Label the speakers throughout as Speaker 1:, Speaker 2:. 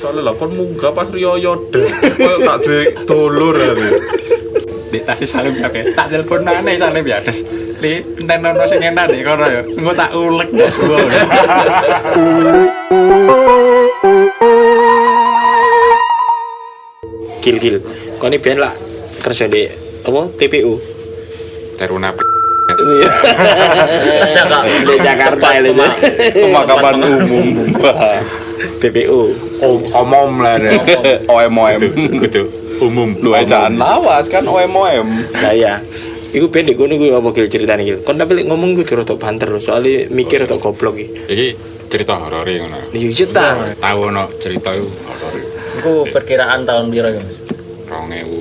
Speaker 1: soalnya lah kon munggah pas riyoyo deh koyo gak duwe dulur
Speaker 2: ya,
Speaker 1: ini.
Speaker 3: di tasnya salim ya kayak tak telepon nane salim ya des li enten nono sing enak di kono ya engko tak ulek des gua
Speaker 4: Gil gil. Kau ini biar lah kerja di apa TPU.
Speaker 3: teruna
Speaker 4: Di Jakarta itu.
Speaker 1: pemakaman umum
Speaker 4: TPU.
Speaker 2: Omom lah ya.
Speaker 1: OM OM
Speaker 3: gitu
Speaker 2: Umum.
Speaker 1: lu ejaan lawas kan OM OM
Speaker 4: Nah ya. Iku ben di kono gue apa gil ceritanya gil. Kau tapi lek ngomong gue curut banter loh. Soalnya mikir atau goblok gil.
Speaker 3: jadi cerita horor ya ngono
Speaker 4: Iya juta.
Speaker 3: tahu no cerita itu horor
Speaker 5: Iku perkiraan tahun biru ya mas.
Speaker 3: ronge u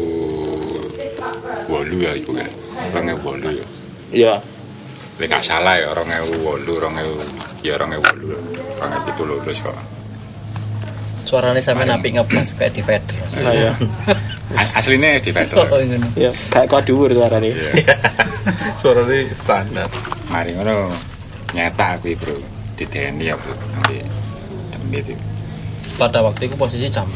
Speaker 3: wolu ya iku ya ronge wolu ya
Speaker 4: Ya.
Speaker 3: lek gak salah ya ronge wolu ronge ya ronge wolu ronge itu lulus kok
Speaker 5: Suaranya sampe napi ngebas kayak di Vader. Mas.
Speaker 4: Nah ya.
Speaker 3: A- aslinya di
Speaker 5: Oh,
Speaker 3: Pedro
Speaker 5: ini.
Speaker 4: Ya. Kayak kau dhuwur suaranya.
Speaker 2: Suaranya standar.
Speaker 3: mari ngono nyata aku bro di TNI ya bro nanti demit itu
Speaker 5: Pada waktu itu posisi jam.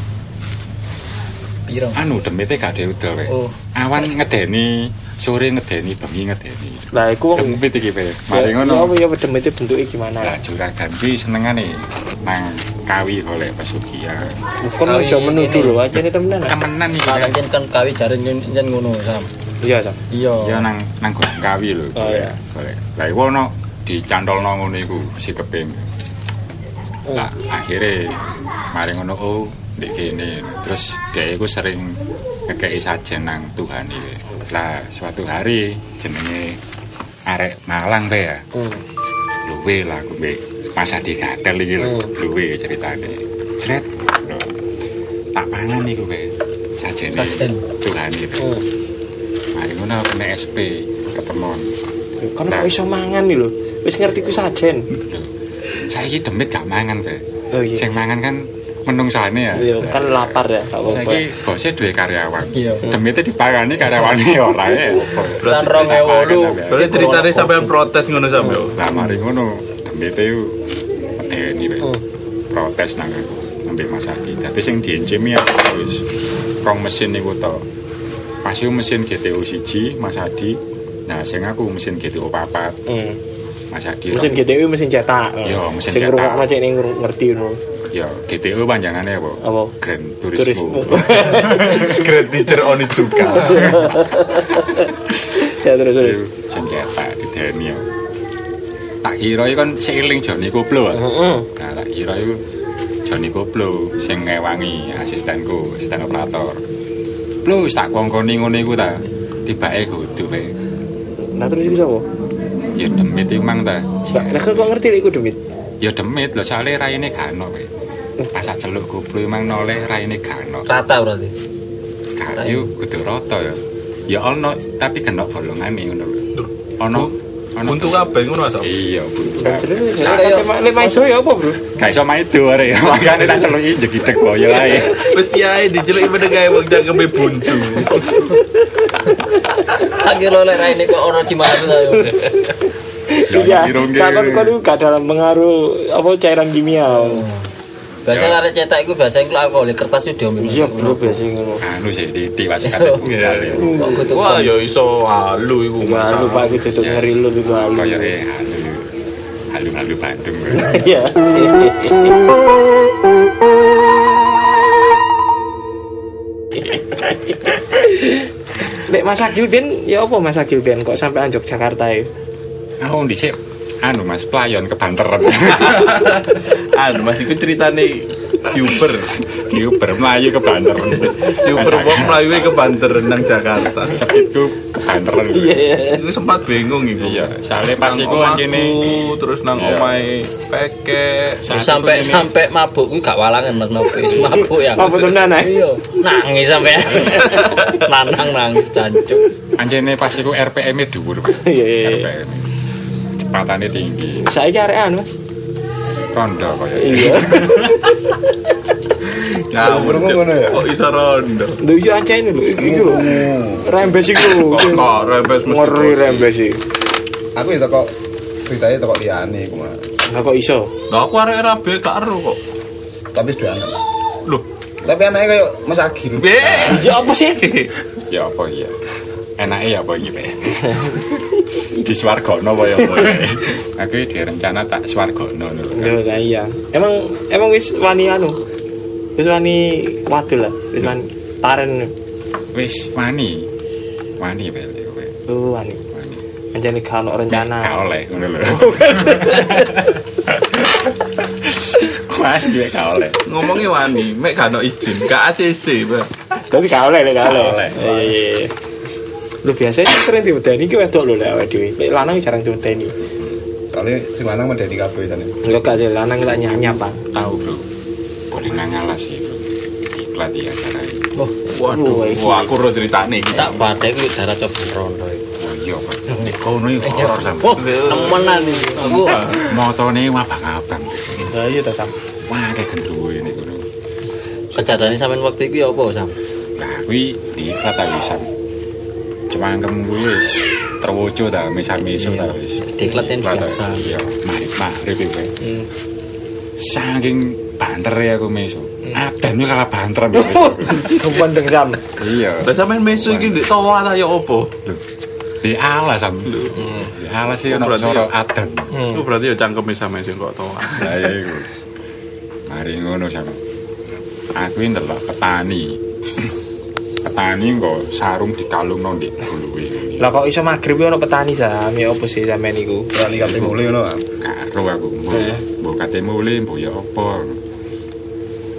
Speaker 5: Biru. Mas.
Speaker 3: anu demitnya gak ada udel weh.
Speaker 5: Oh.
Speaker 3: awan ngedeni sore ngedeni bengi ngedeni
Speaker 4: Nah iku wong.
Speaker 3: demit iki weh. mari
Speaker 4: Ya
Speaker 3: ngono Nah.
Speaker 4: apa ya demete bentuke gimana?
Speaker 3: lah juragan ki senengane nang kawi golek pesugihan
Speaker 4: Kon
Speaker 5: Tapi
Speaker 4: aja menuduh
Speaker 5: ini-
Speaker 4: lho, aja ini temenan.
Speaker 3: temenan iki
Speaker 5: Malah jen kan kawi jaring jen jen ngono sam.
Speaker 4: Iya, Sam.
Speaker 5: Iya.
Speaker 3: ya nang nang gunung kawi lho
Speaker 4: Oh,
Speaker 3: golek
Speaker 4: iya.
Speaker 3: golek lah iku ono dicantolno ngono iku si keping lah akhirnya mari ngono oh di kene terus dia iku sering ngekei sajen nang Tuhan iki lah suatu hari jenenge arek Malang be ya luwe lah aku be masa di gatel iki lho luwe ceritane jret lho. tak pangan iku be sajene
Speaker 5: Sajen.
Speaker 3: Tuhan iki
Speaker 4: Hmm.
Speaker 3: mari ngono aku nek SP ketemon
Speaker 4: Kon kan kok iso mangan iki lho. Wis ngerti ku sajen.
Speaker 3: saya ini demit gak mangan be
Speaker 4: Oh iya.
Speaker 3: sing mangan kan menungsane ya
Speaker 4: Iya, kan lapar ya, gak apa-apa.
Speaker 3: Saiki bosnya dua karyawan.
Speaker 5: Iya.
Speaker 3: Demite dipangani karyawannya ora ya.
Speaker 5: Lan Kan rong ewu lu.
Speaker 2: ya. Berarti Iya,
Speaker 5: Cek
Speaker 2: ceritanya
Speaker 5: corona
Speaker 2: sampai protes ngono sampe.
Speaker 3: Lah mari ngono, demite yo medeni wae. Protes nang ambil Mas Aki. Dadi sing diencemi ya wis rong mesin niku to. Pas iku mesin GTO 1 Mas Adi. Nah, sing aku mesin GTO 4.
Speaker 4: Hmm.
Speaker 3: Mas Adi.
Speaker 4: Mesin GTW mesin cetak.
Speaker 3: Iya, mesin
Speaker 4: Sing
Speaker 3: cetak.
Speaker 4: ngrungokno cek ning ngerti ngono.
Speaker 3: Ya, GTO panjangane apa?
Speaker 4: Apa?
Speaker 3: Grand
Speaker 4: Turis.
Speaker 3: Turismo.
Speaker 2: Great teacher Onitsuka.
Speaker 4: Ya terus terus.
Speaker 3: senjata di Daniel tak kira itu kan seiling Johnny Koplo kan nah tak kira itu Johnny Koplo sing ngewangi asistenku asisten operator plus tak kongkoni ngono iku ta tiba eh kudu pe
Speaker 4: Nah terus iku sapa?
Speaker 3: ya demit iku mang ta
Speaker 4: Mbak, Lah kok kok ngerti lek iku demit.
Speaker 3: ya demit lho soalnya raine gak ono pe pas tak celuk Koplo emang noleh raine gak ono
Speaker 5: Rata berarti.
Speaker 3: kayu kudu rata ya ya ono tapi kena bolongane ngono lho ono ono
Speaker 2: Untuk apa ngono Sam?
Speaker 3: iya buntu kabeh.
Speaker 4: Jenenge
Speaker 3: Sa-
Speaker 4: lek main iso ya apa, Bro?
Speaker 3: Gak iso maido arek. Makane tak celuki jegideg boyo ae.
Speaker 2: Mesti ae dijeluk menengae wong cangkeme buntu.
Speaker 5: Lagi lo lek raine kok ora cimatu ta yo.
Speaker 3: Ya
Speaker 4: Iya. Takon kon iku gak dalam pengaruh apa cairan kimia.
Speaker 5: Biasane arek cetak iku biasane kok alkohol kertas yo diombe. Mas.
Speaker 4: Iya, Bro, biasa ngono.
Speaker 3: Anu sih ditiwas kate budal.
Speaker 5: Kok kudu
Speaker 2: Wah, ya iso halu iku
Speaker 4: Wah,
Speaker 2: Mas.
Speaker 4: lupa aku jatuh ngeri lu iku alu.
Speaker 3: Koyo e halu. Halu-halu Bandung.
Speaker 4: Iya. Lek Mas Agil Ben, ya apa Mas Agil Ben kok sampai anjok Jakarta ya?
Speaker 3: Aku dhisik anu Mas playon kebanteran.
Speaker 2: Anu Mas iku ceritane Uber.
Speaker 3: Ki Uber mlayu kebanteran.
Speaker 2: Uber wong mlayu ke Banter nang Jakarta.
Speaker 3: sepitku kebanteran.
Speaker 2: Iku sempat bingung iku.
Speaker 3: Iya, soalnya pas
Speaker 2: Nang
Speaker 3: iku
Speaker 2: omahku,
Speaker 3: anjene
Speaker 2: terus nang
Speaker 3: Iya.
Speaker 2: omahe peke.
Speaker 3: saat iku
Speaker 5: sampai
Speaker 3: ini-
Speaker 5: sampai mabuk kuwi gak walangan Mas mabuk wis mabuk ya.
Speaker 4: Mabuk tenan, eh?
Speaker 5: Iya, nangis sampai. Nanang nangis jancuk.
Speaker 3: anjene pas iku RPM-e dhuwur, Pak.
Speaker 4: Iya, iya, iya.
Speaker 2: ya.
Speaker 3: RPM. Cepatannya tinggi,
Speaker 4: Saya ini arean mas
Speaker 3: rondo koyo.
Speaker 4: Iya
Speaker 2: Ngawur Cuk. Kok iso rondo?
Speaker 4: Lho iya aja ini lho Ini lho Rembes iku
Speaker 2: Kok kok rebes mesti.
Speaker 4: Ngeri rembes iku
Speaker 6: Aku itu kok ceritanya toko liane iku mah.
Speaker 4: Nah kok iso
Speaker 2: Lah aku arek rabe gak ero kok.
Speaker 6: Tapi sudah anak.
Speaker 1: Loh,
Speaker 6: Tapi anaknya kayak Mas Agil.
Speaker 1: eh,
Speaker 4: Ya apa sih?
Speaker 3: ya apa ya enaknya ya apa iki Pak? di swargono apa ya apa ya? aku direncana tak swargono lho
Speaker 4: Yo lah iya. Emang emang wis wani anu. Wis wani wadul lah. Wis wani taren
Speaker 3: wis wani wani bel kowe
Speaker 4: lu wani.
Speaker 3: wani
Speaker 4: Anjane gak ono
Speaker 3: gak
Speaker 4: rencana.
Speaker 3: oleh Iya, ngono lho wani ya gak oleh
Speaker 1: ngomongnya wani, mek gak ono izin, gak ACC, Mbak.
Speaker 4: Tapi gak oleh, lek, gak
Speaker 3: Gak
Speaker 4: oleh.
Speaker 3: oleh.
Speaker 4: Iya iya iya. Lu biasanya sering diwedeni ki wedok lho lek awake dhewe. Lek lanang jarang diwedeni.
Speaker 6: Soalnya sing lanang mendadi kabeh sana.
Speaker 4: Lek gak sih lanang lek nyanyap, Pak.
Speaker 3: tahu bro boleh nangalas sih bro iklan di acara ini
Speaker 5: Loh,
Speaker 1: Waduh,
Speaker 4: Waduh, iki.
Speaker 1: wah aku ro ceritane iki.
Speaker 5: tak patek lu darah coba rondo. iki.
Speaker 3: oh iya pak ini kono ini
Speaker 5: Eh,
Speaker 3: horor sam
Speaker 5: Wah, temenan iki. Aku
Speaker 3: motone wabang-abang
Speaker 4: Lah iya ta, Sam.
Speaker 3: wah kayak gendruwo ini kono
Speaker 5: kejadiannya sampean waktu itu ya apa, Sam?
Speaker 3: Lah kuwi diklat ta wis. Sam. Cuma angkem kuwi wis terwojo ta mesa-meso ta wis.
Speaker 5: Diklat yang
Speaker 3: Diklat ta,
Speaker 5: biasa.
Speaker 3: Iya, mari magrib iki.
Speaker 4: Hmm.
Speaker 3: Saking bantere aku meso.
Speaker 5: Hmm.
Speaker 3: Adan yo kalah banter mbek meso.
Speaker 4: Kependeng Sam.
Speaker 3: Iya.
Speaker 1: Lah sampean mesu iki ndek towa ta ya opo?
Speaker 3: Di alas sam.
Speaker 5: Hmm.
Speaker 3: Di alas sih
Speaker 1: Oh,
Speaker 3: ono
Speaker 1: berarti
Speaker 3: soro
Speaker 1: ya.
Speaker 3: adan.
Speaker 1: Itu berarti ya cangkeme sama sing kok towa.
Speaker 3: Lah iya iku. Mari ngono sam. Aku ini ndelok petani. petani kok sarung dikalungno ndek guluwe.
Speaker 4: Lah kok iso magrib ono petani, Sam? Ya opo sih sampean iku?
Speaker 6: Berani kabeh mulai ngono. ah.
Speaker 3: karo aku mbok
Speaker 4: Eh.
Speaker 3: mbok katemu le mbok ya apa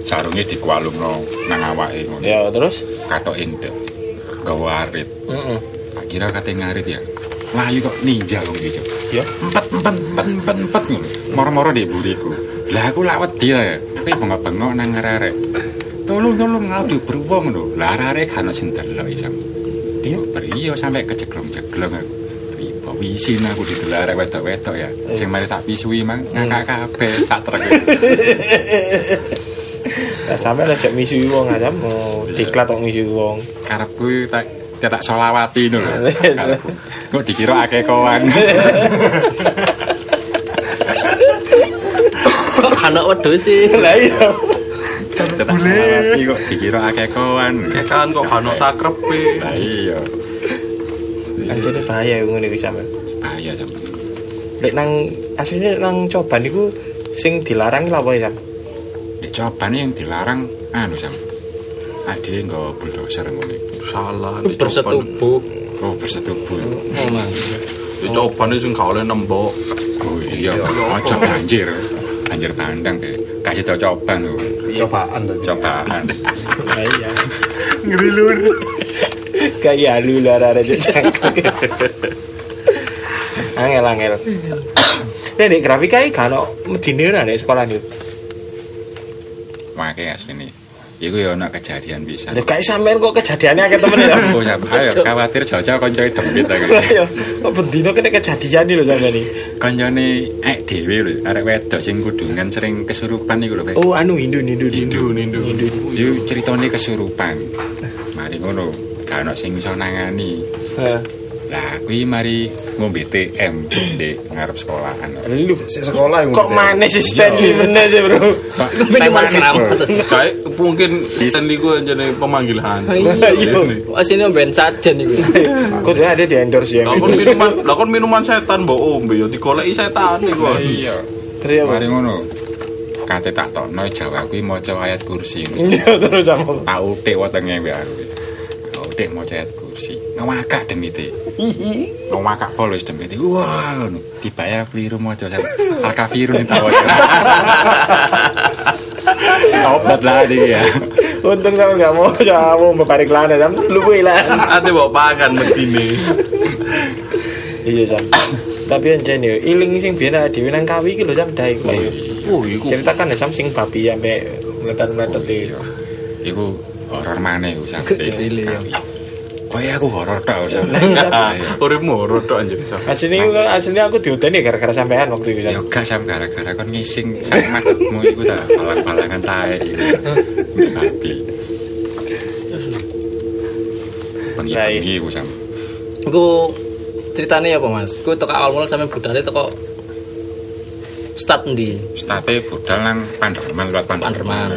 Speaker 3: sarunge dikualungno nang awake ngono
Speaker 4: Ya terus?
Speaker 3: katok endek gawa arit
Speaker 4: Heeh.
Speaker 3: Tak kira kate ngarit ya layu kok ninja kok gitu
Speaker 4: Ya.
Speaker 3: empat empat empat empat empat ngono moro-moro di buriku lah aku lawat dia ya aku bengok-bengok nang arek tolong tolong ngadu beruang lho lah arek kan sing delok isang iya beriyo sampe keceglong-ceglong aku Tiba wisin aku digelar wedok-wedok ya sing mari tak pisui mang ngakak kabeh sak trek
Speaker 4: Lah sampe lek jek misi wong Sam, mau diklat kok misi wong.
Speaker 3: karepku tak tak solawati lho karepku kok dikira akeh kowan
Speaker 5: Kok anak wedhus sih?
Speaker 4: Lah iya.
Speaker 3: Tetap selawati kok dikira akeh kowan.
Speaker 1: Kekan Ya kan, kok gak ono sakrepe.
Speaker 3: Lah iya.
Speaker 4: Anjene bahaya iku ngene iki sampe.
Speaker 3: Bahaya sampe.
Speaker 4: Lek nang asline nang coban niku sing dilarang lha apa ya? Sam?
Speaker 3: Nek cobane yang dilarang anu sam. Ade nggo bulldozer ngono. iku.
Speaker 1: Salah dicoba.
Speaker 5: Bersetubuh.
Speaker 3: Oh bersetubuh.
Speaker 5: Oh, Mas.
Speaker 1: Dicoba nih sing gak oleh nembok.
Speaker 3: Oh iya, ojo banjir. Banjir bandang deh. Kasih tau coban lho.
Speaker 6: Cobaan to.
Speaker 3: Cobaan.
Speaker 4: Lah iya. Ngrilur. Kayak ya, halu lara-lara cuk cangkok. Angel angel. Nek nek grafika iki kan medine ora nek sekolah niku.
Speaker 3: Mangke asline. Iku ya ana kejadian bisa.
Speaker 4: Lek gak sampean kok kejadiannya akeh temen ya.
Speaker 3: Oh sam, ayo khawatir jaja kancane demit ta.
Speaker 4: Iya, kok bendino kena kejadian iki lho sampean iki.
Speaker 3: Kancane ek eh, dhewe lho, arek wedok sing kudungan sering kesurupan iku lho. Pak.
Speaker 4: Oh, anu Hindu Hindu
Speaker 1: Nindu, nindu.
Speaker 3: Yo ceritane kesurupan. Mari ngono, gak ono sing iso nangani.
Speaker 4: Heeh.
Speaker 3: Lah kuwi mari ngombe TM di ngarep sekolahan.
Speaker 4: Lu
Speaker 6: Sik sekolah iku.
Speaker 4: kok manis sih Stanley bener sih, Bro.
Speaker 3: Pak,
Speaker 5: Minimal keramat.
Speaker 1: Kayak mungkin Stanley ku anjene pemanggilan. Nah,
Speaker 4: Iya.
Speaker 5: Wah, sini ben sajen iku.
Speaker 4: Kok dia ada di endorse ya.
Speaker 1: Lah kon minuman, lah kon minuman setan mbok ombe ya digoleki setan iku.
Speaker 3: Iya.
Speaker 4: Terus apa?
Speaker 3: Mari ngono. Kate tak tokno Jawa kuwi maca ayat kursi.
Speaker 4: Iya, terus apa?
Speaker 3: Tak utik wetenge wae aku. Tak utik maca ayat kursi. Ngawakak demite. Ngawakak polis demite. Wah, ngono. Tibaya keliru maca sat. Al-kafirun tawa. Obat lah dia.
Speaker 4: Untung sama gak mau sama mau balik lana sam lu gue lah.
Speaker 1: Ate mbok pakan medine.
Speaker 4: Iya sam. Tapi yang jenis iling sing biasa di Minang Kawi gitu sam dai.
Speaker 3: Iya,
Speaker 1: Oh, iku
Speaker 4: Ceritakan ya e. sam sing babi sampai melekat melekat
Speaker 3: Oh,
Speaker 4: di.
Speaker 3: iya. Iku horor maneh iku sak.
Speaker 5: Iya, iya.
Speaker 3: Koyo aku horor tok Sam.
Speaker 1: Ah, uripmu horor tok anjir. Sam.
Speaker 4: Aslinya aku aslinya aku diutani gara-gara sampean waktu itu. Sam.
Speaker 3: Ya gak sam gara-gara kon ngising sama matmu iku ta balang-balangan tae iku. Babi. Pengi-pengi iku sam.
Speaker 5: Iku ceritane apa, Mas? Iku teko awal mula sampe budale teko start ndi?
Speaker 3: State budal nang Panderman lewat Panderman.
Speaker 5: Panderman.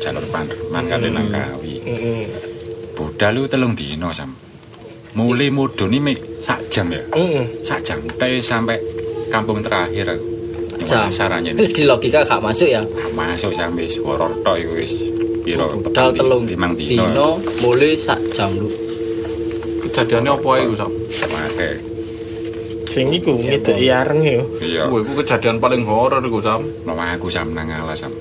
Speaker 3: jalur panerman kate nang Kawi. Budal lu telung dino sam. Mulai mudune mek sak jam ya. Sak jam teh sampai kampung terakhir aku. Cuma
Speaker 5: Jam.
Speaker 3: sarannya ini.
Speaker 5: Di logika gak masuk ya.
Speaker 3: Gak masuk sampe suara tok iku wis pira
Speaker 5: Budal telung
Speaker 3: timang dino.
Speaker 5: dino mulai sak jam lu.
Speaker 2: Kejadiannya apa itu sam?
Speaker 3: Mate.
Speaker 4: Sing iku ngedeki areng yo.
Speaker 3: Iya.
Speaker 2: Wah, itu kejadian paling horor itu sam.
Speaker 3: Mama aku sam nang alas sam.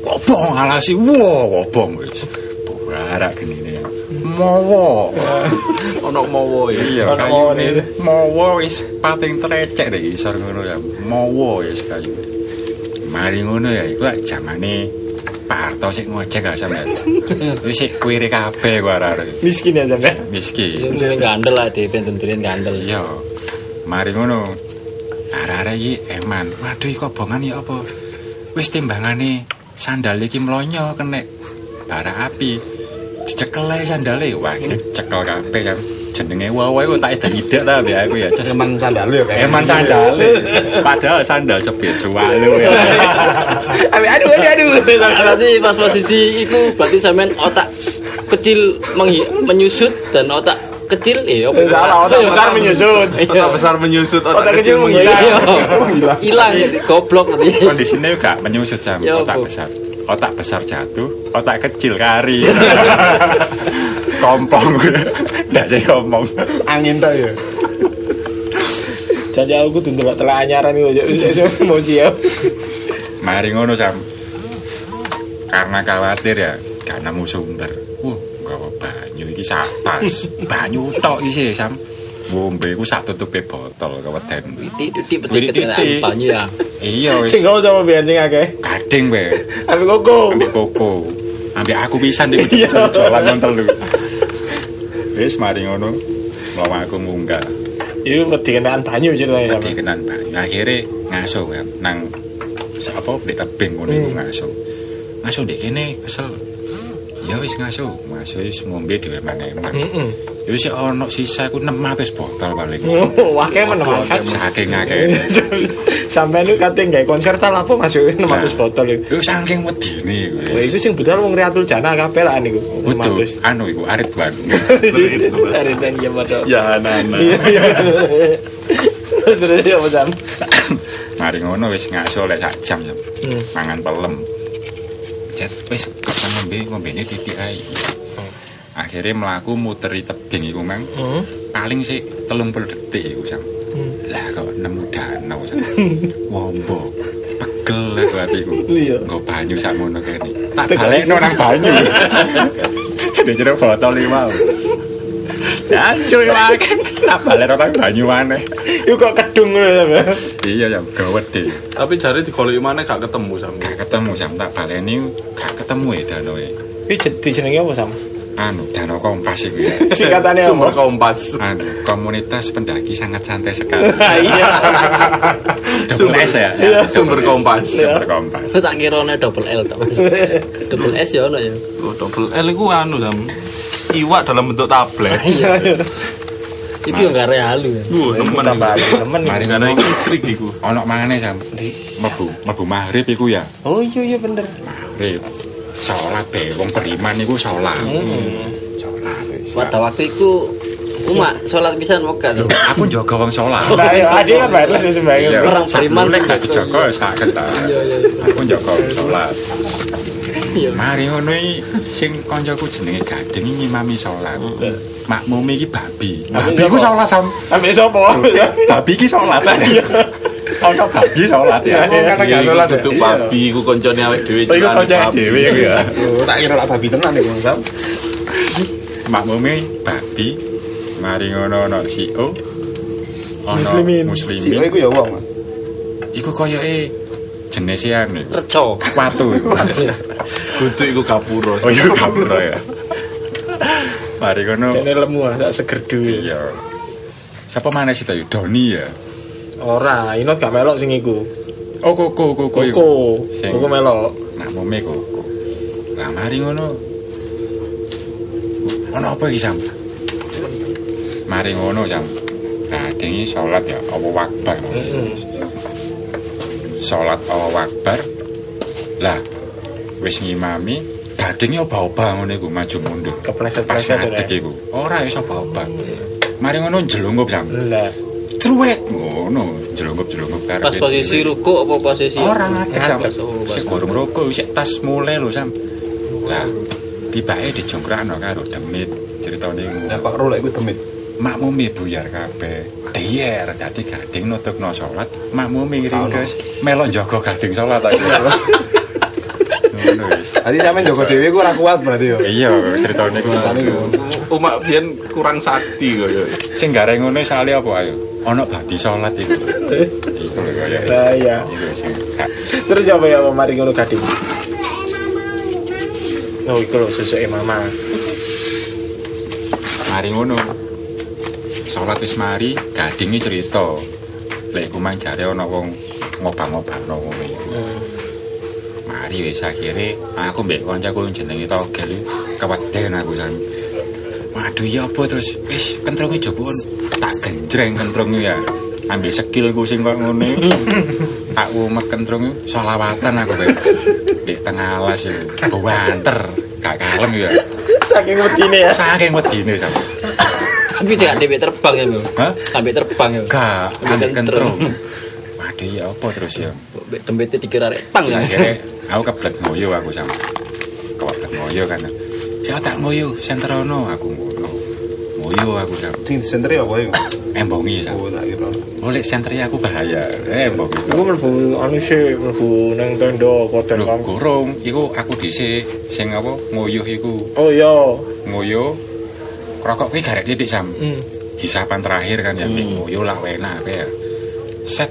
Speaker 3: Kobong alasi, wah kobong wis. Buarak gini ini. Mawa.
Speaker 2: Ono mowo ya.
Speaker 3: Iya,
Speaker 4: Ono
Speaker 3: kayu ini.
Speaker 4: ini.
Speaker 3: Mawa wis pating trecek deh isor ngono ya. Mawa wis kayu. Mari ngono ya, iku lak jamane Pak Harto sik ngojek gak sam. ya. Wis sik kuwire kabeh ku arek
Speaker 4: Miskin ya sampe.
Speaker 5: Ya
Speaker 3: miskin.
Speaker 5: mungkin gandel lah DP tentuin gandel.
Speaker 3: Iya. Mari ngono. Arek-arek iki eman. Waduh, iki obongan ya apa? Wis timbangane sandal iki mlonyo kena bara api. Dicekel ae sandale. Wah, ini cekel kabeh kan. Jenenge wawae kok tak idak-idak ta mbek aku ya. Cus.
Speaker 6: Eman sandal ya kayak.
Speaker 3: Eman sandale. Padahal sandal jepit suwalu ya.
Speaker 4: Aduh aduh aduh.
Speaker 5: Berarti pas posisi itu berarti sampean otak kecil menghi- menyusut dan otak kecil eh apa?
Speaker 4: Salah, otak
Speaker 5: Iya,
Speaker 4: besar menyusut.
Speaker 5: Iya.
Speaker 2: Otak besar menyusut, otak,
Speaker 4: Otak kecil menghilang.
Speaker 5: Iya. Hilang goblok berarti.
Speaker 3: Kondisine juga menyusut jam
Speaker 5: Ya,
Speaker 3: otak
Speaker 5: Bu.
Speaker 3: besar. Otak besar jatuh, otak kecil kari. kompong. Ndak jadi kompong.
Speaker 6: Angin tuh ya.
Speaker 4: Jadi aku tuh ndelok telah anyaran iku yo. Emosi yo.
Speaker 3: Mari ngono sam. Karena khawatir ya, karena mau sumber. Wah, gawa banyu iki satas. banyu tok iki sam. Ngombe ku sak tutupe botol keweden.
Speaker 5: Titik
Speaker 3: Titik,
Speaker 5: titik
Speaker 3: titik.
Speaker 5: banyu ya.
Speaker 3: Iya wis
Speaker 4: Sing kau sama biyen sing akeh.
Speaker 3: kading we.
Speaker 4: Ambil koko.
Speaker 3: Ambek koko. Ambek aku pisan iku jalan nonton lu. Wis mari ngono. Mlawa aku munggah.
Speaker 4: Iku wedi kenaan banyu ceritane
Speaker 3: Mati
Speaker 4: sampe.
Speaker 3: kenan banyu. Akhirnya ngasuh kan nang apa di tebing ngono iku ngasuh. Ngasuh ndek kene kesel. Ya wis ngasuh, ngasuh wis ngombe dhewe maneman.
Speaker 4: Heeh.
Speaker 3: Ya wis ono sisa iku 600 botol paling.
Speaker 4: Wah, kayak menemukan.
Speaker 3: Saking akeh.
Speaker 4: Sampai lu kate nggae konser ta lapo
Speaker 3: Nah.
Speaker 4: masuk 600 botol iku.
Speaker 3: Yo saking wedine iku.
Speaker 4: Wah, iku sing budal wong Riatul Jana kabeh lah niku.
Speaker 3: Betul, anu iku Arif Wan.
Speaker 4: 600. Dari ten ya padha.
Speaker 2: Ya, nah, nah.
Speaker 4: Iya, iya. Terus ya pesan.
Speaker 3: Mari ngono wis ngasuh lek sak jam. Jam.
Speaker 4: Hmm.
Speaker 3: Mangan pelem. Jet wis kapan ngombe ngombene titik ae.
Speaker 4: Hmm.
Speaker 3: Akhirnya melaku muteri tebing iku mang. paling sih telung puluh detik iku sam
Speaker 4: Hmm.
Speaker 3: lah kok nemu danau sam wombo pegel aku hatiku
Speaker 4: Iya.
Speaker 3: nggo banyu sak ngono kene tak balekno nang banyu jadi jero botol lima Jancuy wae tak balekno nang banyu maneh
Speaker 4: Iku kok kedung ngono ya? sampe.
Speaker 3: iya sam gawet deh
Speaker 2: Tapi jari digoleki mana gak ketemu sam.
Speaker 3: gak ketemu sam tak baleni gak ketemu ya danau e.
Speaker 4: Iku jadi jenenge apa sam?
Speaker 3: anu danau kompas iku ya
Speaker 4: Singkatane apa?
Speaker 2: Sumber kompas.
Speaker 3: anu komunitas pendaki sangat santai sekali
Speaker 4: Ah, iya.
Speaker 3: double S ya
Speaker 2: Iya,
Speaker 3: Double
Speaker 2: sumber
Speaker 3: S.
Speaker 2: kompas.
Speaker 3: sumber kompas
Speaker 5: Itu tak kira ono double L tak Mas. Double S ya ono ya.
Speaker 2: Oh, double L itu anu sam. Iwak dalam bentuk tablet.
Speaker 5: Iya. Itu yang gak realu ya.
Speaker 2: Wah, temen.
Speaker 4: Tambah aku temen.
Speaker 3: Mari
Speaker 2: Karena
Speaker 3: ngono
Speaker 2: ini srik iku.
Speaker 3: ono mangane sam mlebu mlebu maghrib iku ya
Speaker 4: Oh iya iya bener.
Speaker 3: maghrib salat be wong beriman iku salat salat wis.
Speaker 5: Pada waktu itu Uma sholat pisan moga tuh.
Speaker 3: aku njaga wong salat
Speaker 4: Nah, iya, adil kan baik terus sembahyang.
Speaker 5: Orang
Speaker 3: sak
Speaker 5: beriman
Speaker 3: mulek gak
Speaker 5: kan
Speaker 3: dijaga ya saged ta aku njaga wong salat
Speaker 5: Iya.
Speaker 3: mari ngono iki sing kancaku jenenge Gading iki ngimami salat makmume iki babi babi iku salat sam
Speaker 4: Ambil sopo?
Speaker 3: Dosa, babi iki salat ono babi salat ya
Speaker 6: Iya, karena gak sholat ya.
Speaker 2: Duduk babi Iya. iku koncone awake dhewe.
Speaker 3: Oh, iku
Speaker 2: celane
Speaker 3: kancane
Speaker 2: babi.
Speaker 3: dhewe iku ya
Speaker 6: Oh, Tak kira lah babi tenan iku Sam.
Speaker 3: makmume babi mari ngono ana CEO ana
Speaker 4: Muslimin.
Speaker 3: muslimin,
Speaker 6: Si iku ya wong.
Speaker 3: iku koyoke jenese anu
Speaker 5: Reco.
Speaker 3: watu iku.
Speaker 2: Duduk iku gapura.
Speaker 3: oh iya kapura ya mari ngono
Speaker 4: Ini lemu ah, tak seger duwe.
Speaker 3: iya siapa mana sih tayo Doni ya
Speaker 4: Ora, Inot gak melok sing iku.
Speaker 3: oh koko koko
Speaker 4: iya.
Speaker 3: iku.
Speaker 4: Koko.
Speaker 3: sing
Speaker 4: Koko melok.
Speaker 3: makmume koko nah mari ngono ana apa iki sam mari ngono sam kadang salat ya Allahu akbar salat Allahu akbar lah wis ngimami Gadingnya oba-oba ngono iku maju mundur. Pas
Speaker 4: Kepleset-pleset ya.
Speaker 3: ngadeg iku. Ora iso oba-oba. Mari ngono jelungup sam.
Speaker 4: Lah,
Speaker 3: Truwet ngono jelungup-jelungup karepe.
Speaker 5: Pas posisi
Speaker 3: dhewe.
Speaker 5: ruko apa posisi?
Speaker 3: Ora ngadeg sam.
Speaker 5: Ngadeg, oh, pas-
Speaker 3: Sik gorong rokok sik tas mulai lho sam. Lah tibake dijongkrakno karo demit ceritane ngono.
Speaker 6: Dapat rola iku temit.
Speaker 3: makmume buyar kabeh diyer dadi gading nutupno salat makmume ringkes melok jaga gading salat aku ngono wis
Speaker 6: Tadi sampean Joko Dewi ku ora kuat berarti yo.
Speaker 3: iya ceritane ku
Speaker 6: Ceritane ku.
Speaker 1: Umak biyen kurang sakti
Speaker 2: ya.
Speaker 1: kaya.
Speaker 3: sing gare ngono sale apa ayo ana babi salat iku lho. iku lho kaya
Speaker 4: Lah, iya.
Speaker 3: iku sing gak-
Speaker 4: terus apa ya apa mari ngono gading. Oh, iku lho susuke mama.
Speaker 3: mari ngono salat wis mari gadinge cerita lek kumang jare ana wong ngobang-ngobangno ngono iku mari wis akhire aku mbek kancaku yang jenenge togel iku keweden aku jan waduh ya apa terus wis kentrunge jebon tak genjreng kentrunge ya ambil sekilku sing kok ngene tak umek kentrunge selawatan aku Bek. di tengah alas ya banter gak kalem ya
Speaker 4: Saking wedine ya.
Speaker 3: saking wedine sampe
Speaker 5: Tapi dia nggak debek terbang ya, Bro.
Speaker 3: Hah?
Speaker 5: Sampai terbang ya.
Speaker 3: Gak,
Speaker 5: Ambil
Speaker 3: ambil
Speaker 5: kentrung.
Speaker 3: kentrung. Waduh ya apa terus ya?
Speaker 5: Mbek dembete dikira rek pang ya.
Speaker 3: Akhirnya aku kebelet ngoyo aku sama. Kebelet ngoyo kan. Saya tak ngoyo, sentrono aku ngono. Ngoyo aku sama.
Speaker 6: Sing sentre apa iku?
Speaker 3: Embongi sama.
Speaker 6: Oh, tak kira.
Speaker 3: Oleh sentri aku bahaya. Eh, Embongi.
Speaker 4: Iku mlebu anu sih, mlebu nang tondo koten
Speaker 3: Lho
Speaker 4: kom.
Speaker 3: gorong, iku aku dhisik sing apa ngoyo iku.
Speaker 4: Oh iya.
Speaker 3: Ngoyo rokok kuwi garek titik sam.
Speaker 4: Hmm.
Speaker 3: hisapan terakhir kan ya hmm. ngoyo lah enak ya set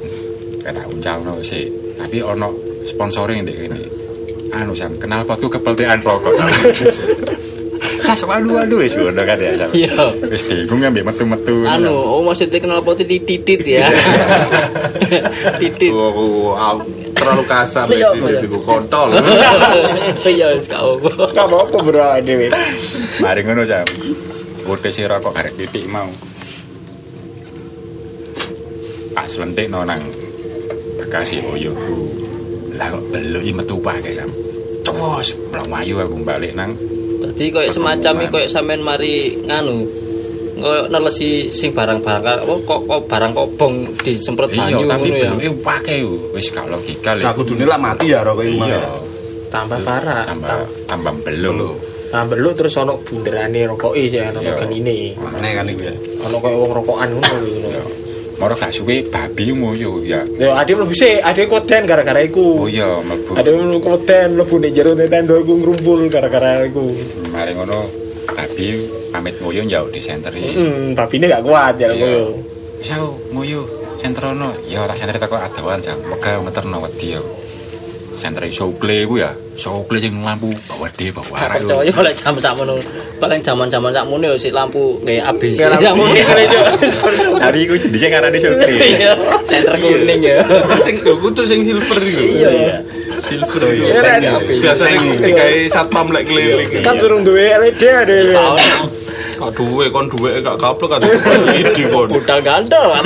Speaker 3: kata uncal no sih tapi ono sponsoring deh ini anu sam kenal potku kepeltian rokok tas waduh waduh wis ngono kan ya sam
Speaker 5: Iya.
Speaker 3: wis bingung kan metu metu
Speaker 5: Anu, oh maksudnya kenal poti titit ya. Titit.
Speaker 1: Wah, wah, wah, terlalu kasar
Speaker 5: Iya,
Speaker 2: ya,
Speaker 1: itu
Speaker 5: iya.
Speaker 1: itu kontol.
Speaker 5: Iya, wis gak apa.
Speaker 4: Gak apa-apa bro dhewe.
Speaker 3: mari ngono sam udah si rokok karek titik mau tak selentik no nang bekasi oyoku lah kok belui metu pakai sam cos belum ayu aku balik nang
Speaker 5: Tadi koyo semacam iki koyo sampean mari nganu koyo nelesi sing barang-barang apa kok kok barang kobong disemprot
Speaker 3: iya
Speaker 5: banyu
Speaker 3: tapi
Speaker 5: ngono ya.
Speaker 3: belum eh pakai yo wis gak logika
Speaker 6: Lah kudune lah mati ya rokok iku. Mak.
Speaker 3: iya
Speaker 4: Tambah parah.
Speaker 3: tambah tambah belum
Speaker 4: Tambah lu terus ono bunderane rokoke sih ono
Speaker 3: Iya.
Speaker 4: genine.
Speaker 6: Maknanya kan iku ya.
Speaker 4: Ono koyo wong rokokan ngono gitu.
Speaker 3: Yo. moro gak suwe babi ngoyo ya
Speaker 4: Ya ade mlebu sih, ade koten gara-gara iku.
Speaker 3: oh iya mlebu
Speaker 4: Ade mlebu koten mlebu ning jero Nintendo iku ngrumpul gara-gara iku.
Speaker 3: mari ngono babi pamit ngoyo njauk di senteri
Speaker 4: Hmm, tapi ini gak kuat ya
Speaker 3: Iya.
Speaker 4: koyo.
Speaker 3: wis aku ngoyo sentrono ya tak senteri teko adoan jam mega meterno wedi yo senteri sokle ku ya sokle sing lampu bawa de bawa
Speaker 5: Gak
Speaker 3: arah
Speaker 5: percaya oleh jam sakmono. Paling zaman-zaman sakmono ya si lampu kayak ABC.
Speaker 4: Ya lah,
Speaker 5: Sakmono.
Speaker 3: tapi iku jenisnya karena di sokle
Speaker 5: Iya, senter kuning ya.
Speaker 1: Sing doku tuh sing silver iku.
Speaker 5: Iya.
Speaker 1: Silver iku.
Speaker 6: Iya, iya,
Speaker 4: Iya,
Speaker 6: sen ya.
Speaker 4: iya.
Speaker 1: Biasane digawe satpam lek keliling.
Speaker 2: Iya.
Speaker 4: Kan durung duwe LED ade.
Speaker 5: Tahun
Speaker 1: Kak duwe kon duwe gak kaplek kan. Ide kon.
Speaker 5: budal gandol kan.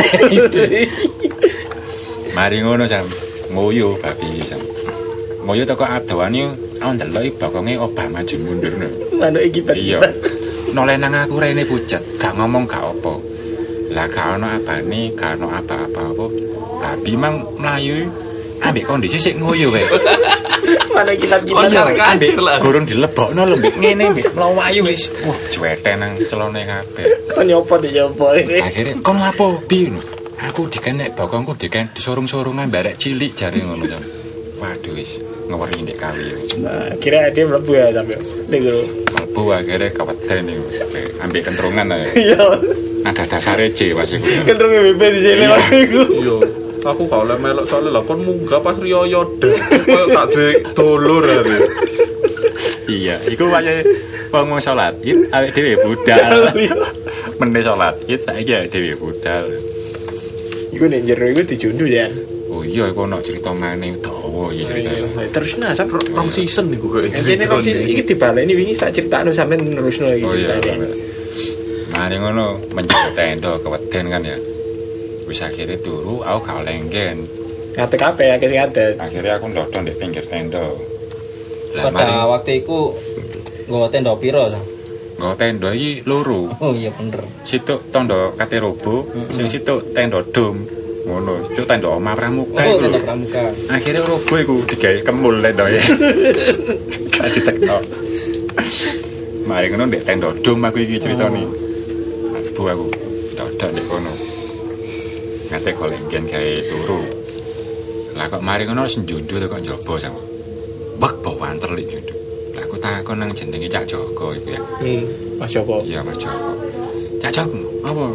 Speaker 3: Mari ngono sam, ngoyo babi sam. Ngoyo teko adoan yo, aku ndeloki bokonge obah maju mundur no.
Speaker 4: Manuk iki
Speaker 3: Iya. Noleh nang aku rene pucet, gak ngomong gak apa. Lah gak ono abane, gak ono apa-apa apa. Babi mang mlayu ambek kondisi sik ngoyo wae.
Speaker 4: Manuk kita
Speaker 1: Konyol
Speaker 4: kita.
Speaker 1: kacir lah.
Speaker 3: Gorong dilebokno lho mbek ngene mbek mlayu wis. Wah, cuete nang celone kabeh.
Speaker 4: Kon nyopo di nyopo ya, ini.
Speaker 3: Akhirnya kon lapo bi Aku dikenek bokongku diken disorong-sorongan barek cilik jare ngono Sam. Waduh wis ngeweri ndek kali. ya.
Speaker 4: Nah, kira dia mlebu ya sampe. Ning lho.
Speaker 3: Mlebu akhirnya kaweden iku. Ambek kentrungan ae. Nah,
Speaker 4: Iya.
Speaker 3: Ada dasare C pas iku.
Speaker 4: Kentrunge BP E di sini
Speaker 3: Iya.
Speaker 4: Mas iku.
Speaker 1: Yo, aku gak oleh melok soalnya lah kon munggah pas riyo deh. Kayak gak duwe dulur ae.
Speaker 3: Iya, iku wayahe wong mau salat Id awake dhewe budal. Mene salat Id saiki awake dhewe budal.
Speaker 4: Iku ning jero iku dijundu ya.
Speaker 3: Oh iya iku ono cerita maneh dawa
Speaker 5: Oh
Speaker 3: iki ceritane.
Speaker 4: Terus nah sampe
Speaker 1: Rong season iku kok.
Speaker 4: Jadi kok sih iki dibaleni wingi tak critakno sampe nerusno iki
Speaker 3: Oh iya.
Speaker 4: ceritanya.
Speaker 3: Mari ngono menjaga tenda keweden kan ya. Wis akhirnya turu aku gak lenggen.
Speaker 4: Ngatek kabeh ya, akeh sing ngatek.
Speaker 3: Akhirnya aku ndodon di pinggir tenda. Lah,
Speaker 5: pada
Speaker 3: mari.
Speaker 5: waktu itu nggawa tenda piro Sam?
Speaker 3: Nggo tenda iki loro.
Speaker 5: oh iya bener
Speaker 3: Situk tenda kate robo, sing situk tenda dom. Ngono, situk tenda omah pramuka
Speaker 5: oh
Speaker 3: iku lho.
Speaker 5: tenda pramuka
Speaker 3: Akhirnya robo iku digawe kemul tendoe. Tak ditekno. Mari ngono ndek tenda dom aku iki critane. Abu aku. Dodok ndek kono. Ngate golenggen gawe turu. Lah kok mari ngono senjundu to kok njaba sama. Bek bawaan terlik njundu. Lah aku takon nang jenenge Cak Joko iku ya.
Speaker 4: Hmm, Mas Joko.
Speaker 3: Iya Mas Joko. Cak Joko, apa?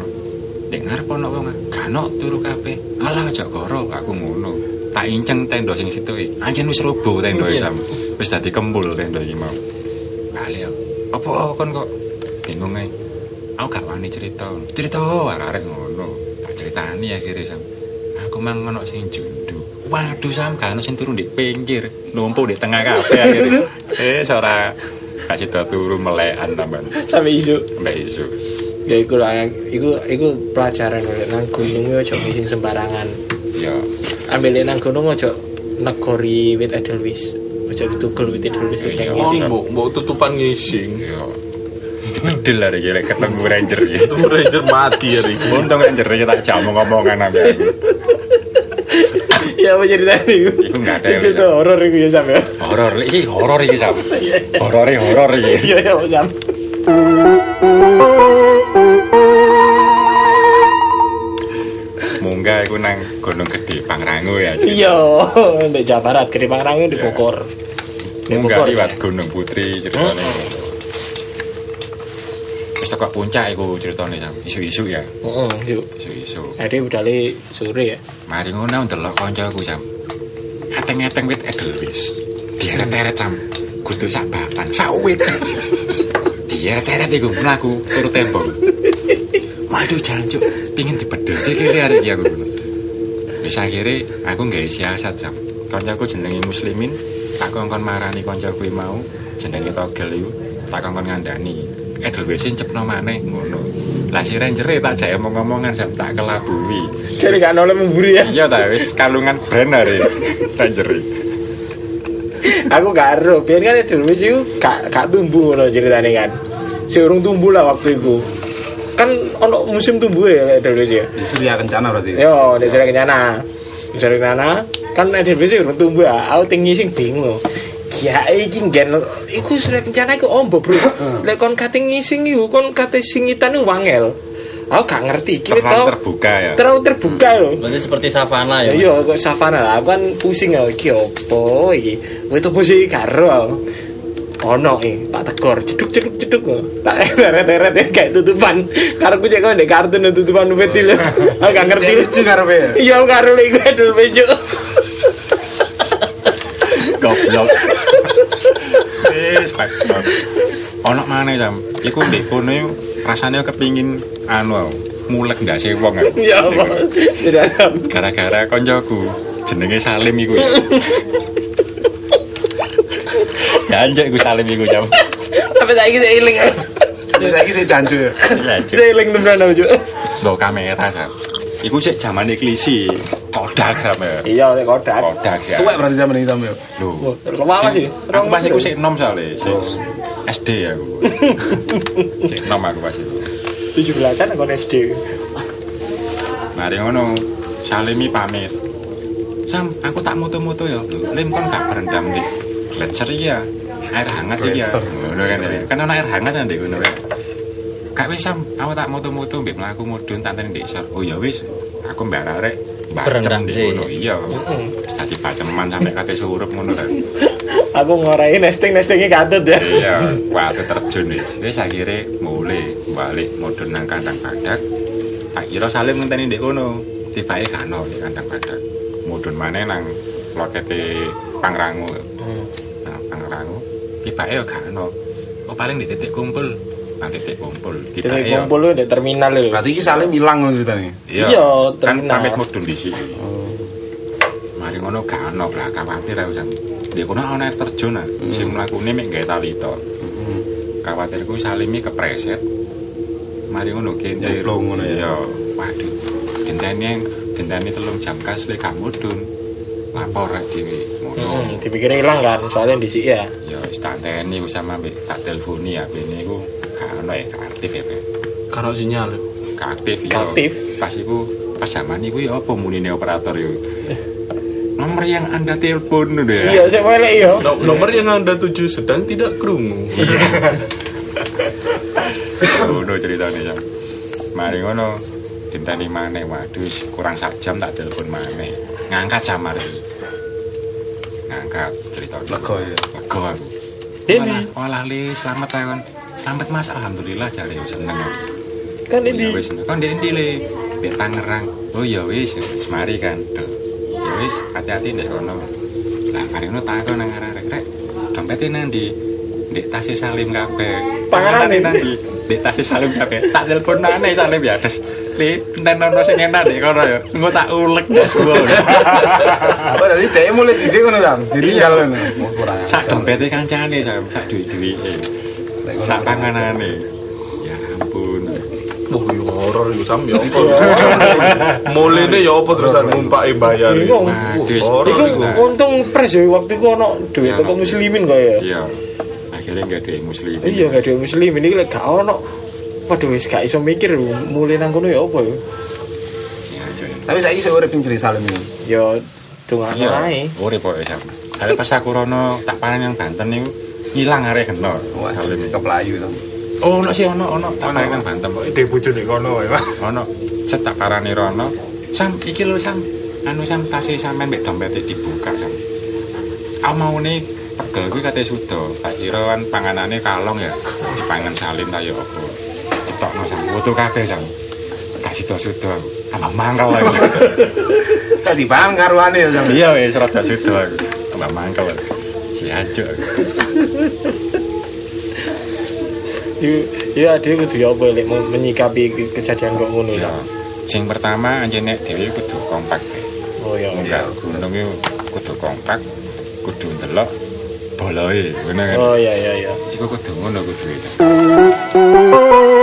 Speaker 3: Nek ngarep ana wong ganok turu kabeh. Alah aja goro, aku ngono. Tak inceng tenda sing situ iki. Anjen wis robo tenda iki sam. Wis dadi kempul tenda iki mau. Kali aku, apa kon kok bingung ae. Aku gak wani cerita. Cerita arek-arek ngono. Tak critani akhire sam. Aku mang ngono sing jundu. Waduh sam gak ono sing turu ndek pinggir, numpuk ndek tengah kabeh akhire. Eh seorang kasih turu melekan tambahan
Speaker 4: Sampai isu.
Speaker 3: sampai isu
Speaker 4: Ya iku lah, iku iku pelajaran oleh nang gunung yo aja ngising sembarangan.
Speaker 3: ya
Speaker 4: Ambil nang gunung aja negori wit edelwis. Aja ditugel wit edelwis wit
Speaker 3: Iya.
Speaker 4: yang
Speaker 1: Oh,
Speaker 4: ngisi.
Speaker 1: mbok mbok tutupan ngising.
Speaker 3: ya dipedil lah iki lek ketemu ranger iki
Speaker 1: Itu ranger mati ya iki.
Speaker 3: untung ranger iki tak jamu ngomongan sampe aku
Speaker 4: Ya apa ceritanya iku?
Speaker 3: Iku nggak ada yang
Speaker 4: Itu
Speaker 3: lihat.
Speaker 4: tuh horor iku ya sampe.
Speaker 3: horor lek iki horor iki sam horore horor
Speaker 4: Iya
Speaker 3: iki
Speaker 4: ya sampe.
Speaker 3: munggah iku nang gunung gede Pangrango ya jadi
Speaker 4: Iya, ndek Jawa Barat, Keripang Rangi di
Speaker 3: Iya.
Speaker 4: Bogor. Di
Speaker 3: munggah
Speaker 4: Bogor.
Speaker 3: liwat gunung putri ceritane wis tekok puncak iku ceritane sam isu-isu ya
Speaker 4: Heeh, Mm, yuk.
Speaker 3: isu-isu
Speaker 4: Hari budale sore ya.
Speaker 3: Mari ngono ndelok kancaku jam. Ateng-ateng wit edelwis. Dieret-eret jam. Kudu sak batang, sak wit. Dieret-eret iku mlaku turu tembok. Waduh jancuk, pingin dibedel cek kiri arek iki aku. Wis akhire aku nggawe siasat jam. Kancaku jenenge Muslimin, tak kongkon marani kancaku iki mau jenenge Togel iku, tak kongkon ngandani. Edelwis cepno maneh ngono. Lah si ranger e tak jaya omong-omongan jam tak kelabui.
Speaker 4: Jadi kan oleh memburi ya.
Speaker 3: Iya ta wis kalungan ya, brand hari Tanjeri.
Speaker 4: Aku gak ero, biar kan edelwis iku gak gak tumbuh ngono ceritane kan. Si urung tumbuh lah waktu iku. Kan ono musim tumbuh ya edelwis ya.
Speaker 6: Di Surya Kencana berarti.
Speaker 4: Yo, ndek sore kenyana. Ndek sore kenyana kan edelwis iku urung tumbuh ya. Aku tinggi sing bingung. loh. Ya iki nggen iku sore kencana iku ombo, Bro. Lek kon kate ngising iku kon kate singitan iku wangel. Aku gak ngerti iki
Speaker 3: Terlalu
Speaker 4: tau-
Speaker 3: terbuka ya. Hmm.
Speaker 4: Terlalu terbuka loh.
Speaker 5: berarti seperti savana ya
Speaker 4: Ya iya kok savana lah, aku kan pusing ya iki opo iki. Wit opo sih karo aku. Ono iki tak tegor ceduk ceduk ceduk kok. tak teret-teret ya kayak tutupan. Karo ku cek kok ndek kartun tutupan wit lho.
Speaker 3: Hmm.
Speaker 4: Aku gak ngerti.
Speaker 6: lucu karepe. ya.
Speaker 4: Iya aku karo lek iku adul bejo.
Speaker 3: Goblok. Wis pak. Ono mana jam? Iku ndek kono iku rasane kepingin anu aku, mulek ndase wong aku.
Speaker 4: Ya apa. Tidak ada.
Speaker 3: Gara-gara koncoku jenenge Salim iku ya. Ganjek iku Salim iku jam.
Speaker 4: Sampai saiki saya iling.
Speaker 6: Sampai saiki saya jancu. ya.
Speaker 4: Saya iling temenan aku.
Speaker 3: Nggo kamera jam. Iku sik zamane klisi. Kodak sama.
Speaker 4: Iya lek kodak.
Speaker 3: Kodak sih.
Speaker 6: Tuwek berarti zaman iki sampe.
Speaker 3: Lho.
Speaker 4: Wah, Lama sih. Oh.
Speaker 3: Aku pas iku sik nom soalé, sik SD ya? aku. sik nom aku pas iku.
Speaker 4: 17-an aku SD.
Speaker 3: Mari Nah, ngono, Salimi pamit. Sam, aku tak moto-moto ya. Lho, Lim kon gak berendam nih. Gletser iya. Air hangat iya.
Speaker 6: Gletser.
Speaker 3: Ngono kan ya. Kan ana air hangat ndek ngono kan. Gak wis Sam, aku tak moto-moto mbek mlaku mudhun tanten ndek sor. Oh ya wis, aku mbak arek
Speaker 5: Berendam,
Speaker 3: Bacem di
Speaker 5: Ci.
Speaker 3: ngono iya. Wis tadi baceman sampe kate surup ngono kan.
Speaker 4: Aku ngorai nesting nestingnya katut ya.
Speaker 3: iya waktu terjun wis wis akhire mulai balik mudun nang kandang badak tak kira salim ngenteni ndek kono tibake gak ono di kandang badak mudun maneh nang lokete pangrango nang pangrango tibake yo ya gak ono oh paling di titik kumpul nang titik kumpul
Speaker 4: Kita
Speaker 3: tibake yo
Speaker 4: kumpul lu di terminal lu.
Speaker 6: Berarti iki Salim ilang ngono ceritane.
Speaker 4: Iya,
Speaker 3: kan
Speaker 4: terminal.
Speaker 3: pamit mudun di sini mari ngono gak ono lah khawatir aku jan ndek kono ana air terjun ah
Speaker 6: Hmm.
Speaker 3: sing mlakune mek gawe tali to khawatirku salimi kepreset mari ngono kente
Speaker 6: Nyemplung ngono ya.
Speaker 3: Iya. waduh genteni genteni telung jam kas le gak mudhun lapor rek dhewe Ngono.
Speaker 4: Hmm, dipikir hilang kan soalnya di sini ya.
Speaker 6: Hmm.
Speaker 3: ya wis tak teni wis sama mbek tak telponi ya bene iku gak ono ya gak aktif ya Mbak.
Speaker 2: Karo sinyal. ya.
Speaker 3: gak aktif ya
Speaker 4: Gak aktif?
Speaker 3: pas iku pas zaman iku ya apa munine operator yo nomor yang anda telepon udah ya
Speaker 4: Iya, saya boleh iya.
Speaker 1: No- nomor yang anda tuju sedang tidak kerungu.
Speaker 3: ngono ceritanya ya mari ngono dinteni maneh waduh kurang sak jam tak telepon maneh ngangkat samar iki ngangkat cerita
Speaker 6: Lega ya?
Speaker 3: lega aku
Speaker 4: iya. Ini.
Speaker 3: Walah- walah li selamat ya Kon. selamat mas alhamdulillah jare seneng aku
Speaker 4: Kan
Speaker 3: Ya
Speaker 4: ini.
Speaker 3: wis, kon ndek ndi le? Mbek Tangerang. Oh ya wis, wis mari kan. Duh. Ya wis, hati-hati ndek kono. Lah mari ngono takon nang arek rek. Dompete nang ndi? Ndek tasih Salim kabeh.
Speaker 4: Pangarane?
Speaker 3: nang ndi? Ndek tasih Salim kabeh. Tak telepon nane Salim ya des. Li, enten ono sing enak ndek kono ya. Engko tak ulek des ya. wae.
Speaker 6: Oh, jadi dia mulai di sini kan, Sam? Jadi kalau mau kurang.
Speaker 3: Sak dompete kancane Sam, sak duwe-duwike. Sak panganane. Ya ampun.
Speaker 1: Wah, yo horor yo sam yo. Mulene yo apa terusan ngumpake bayar.
Speaker 4: Bingung.
Speaker 3: Waduh,
Speaker 1: Horor
Speaker 4: Iku
Speaker 1: iku.
Speaker 4: untung pres ya waktu iku ono duit
Speaker 3: Iya,
Speaker 4: toko
Speaker 3: ono.
Speaker 4: muslimin kok ya.
Speaker 3: Iya. Akhirnya nggak ada yang muslim.
Speaker 4: Iya, gak ada muslimin iki lek gak ono. Waduh wis gak iso mikir mulai nang kono ya apa ya.
Speaker 3: Iya, coy.
Speaker 6: Tapi saya saya urip jadi salim ini.
Speaker 4: Ya tungan
Speaker 3: Iya,
Speaker 4: ae.
Speaker 3: urip kok sam. Kali pas aku rono tak panen yang Banten niku ilang arek geno.
Speaker 6: Wah,
Speaker 3: Salim.
Speaker 6: ke Pelayu kan.
Speaker 3: Oh, ono sih ono ono tak panen yang Banten kok. Ide bojone kono wae, Ono cet tak parani rono. Sam iki lho sam. Anu sam tasih sampean mbek dompete dibuka sam. Aku mau nih pegel kuwi kate sudo. Tak kira kan panganane kalong ya. Dipangan Salim ta ya apa. Ditokno sam. Foto kabeh sam. Gak sido-sido aku. Tambah mangkel aku.
Speaker 6: Tadi paham karuane ya, Sam.
Speaker 3: Iya wis rada sedo aku. Tambah mangkel. aku. Siajuk. aku.
Speaker 4: Iya, dia kudu ya apa lek mau menyikapi ke- kejadian kok ngono ya.
Speaker 3: Ya. Sing pertama anjene dhewe kudu kompak.
Speaker 4: Oh ya.
Speaker 3: Enggak gunung iku kudu kompak, kudu ndelok boloe, ngono kan.
Speaker 4: Oh ya ya ya.
Speaker 3: Iku kudu ngono kudu itu.
Speaker 7: Terima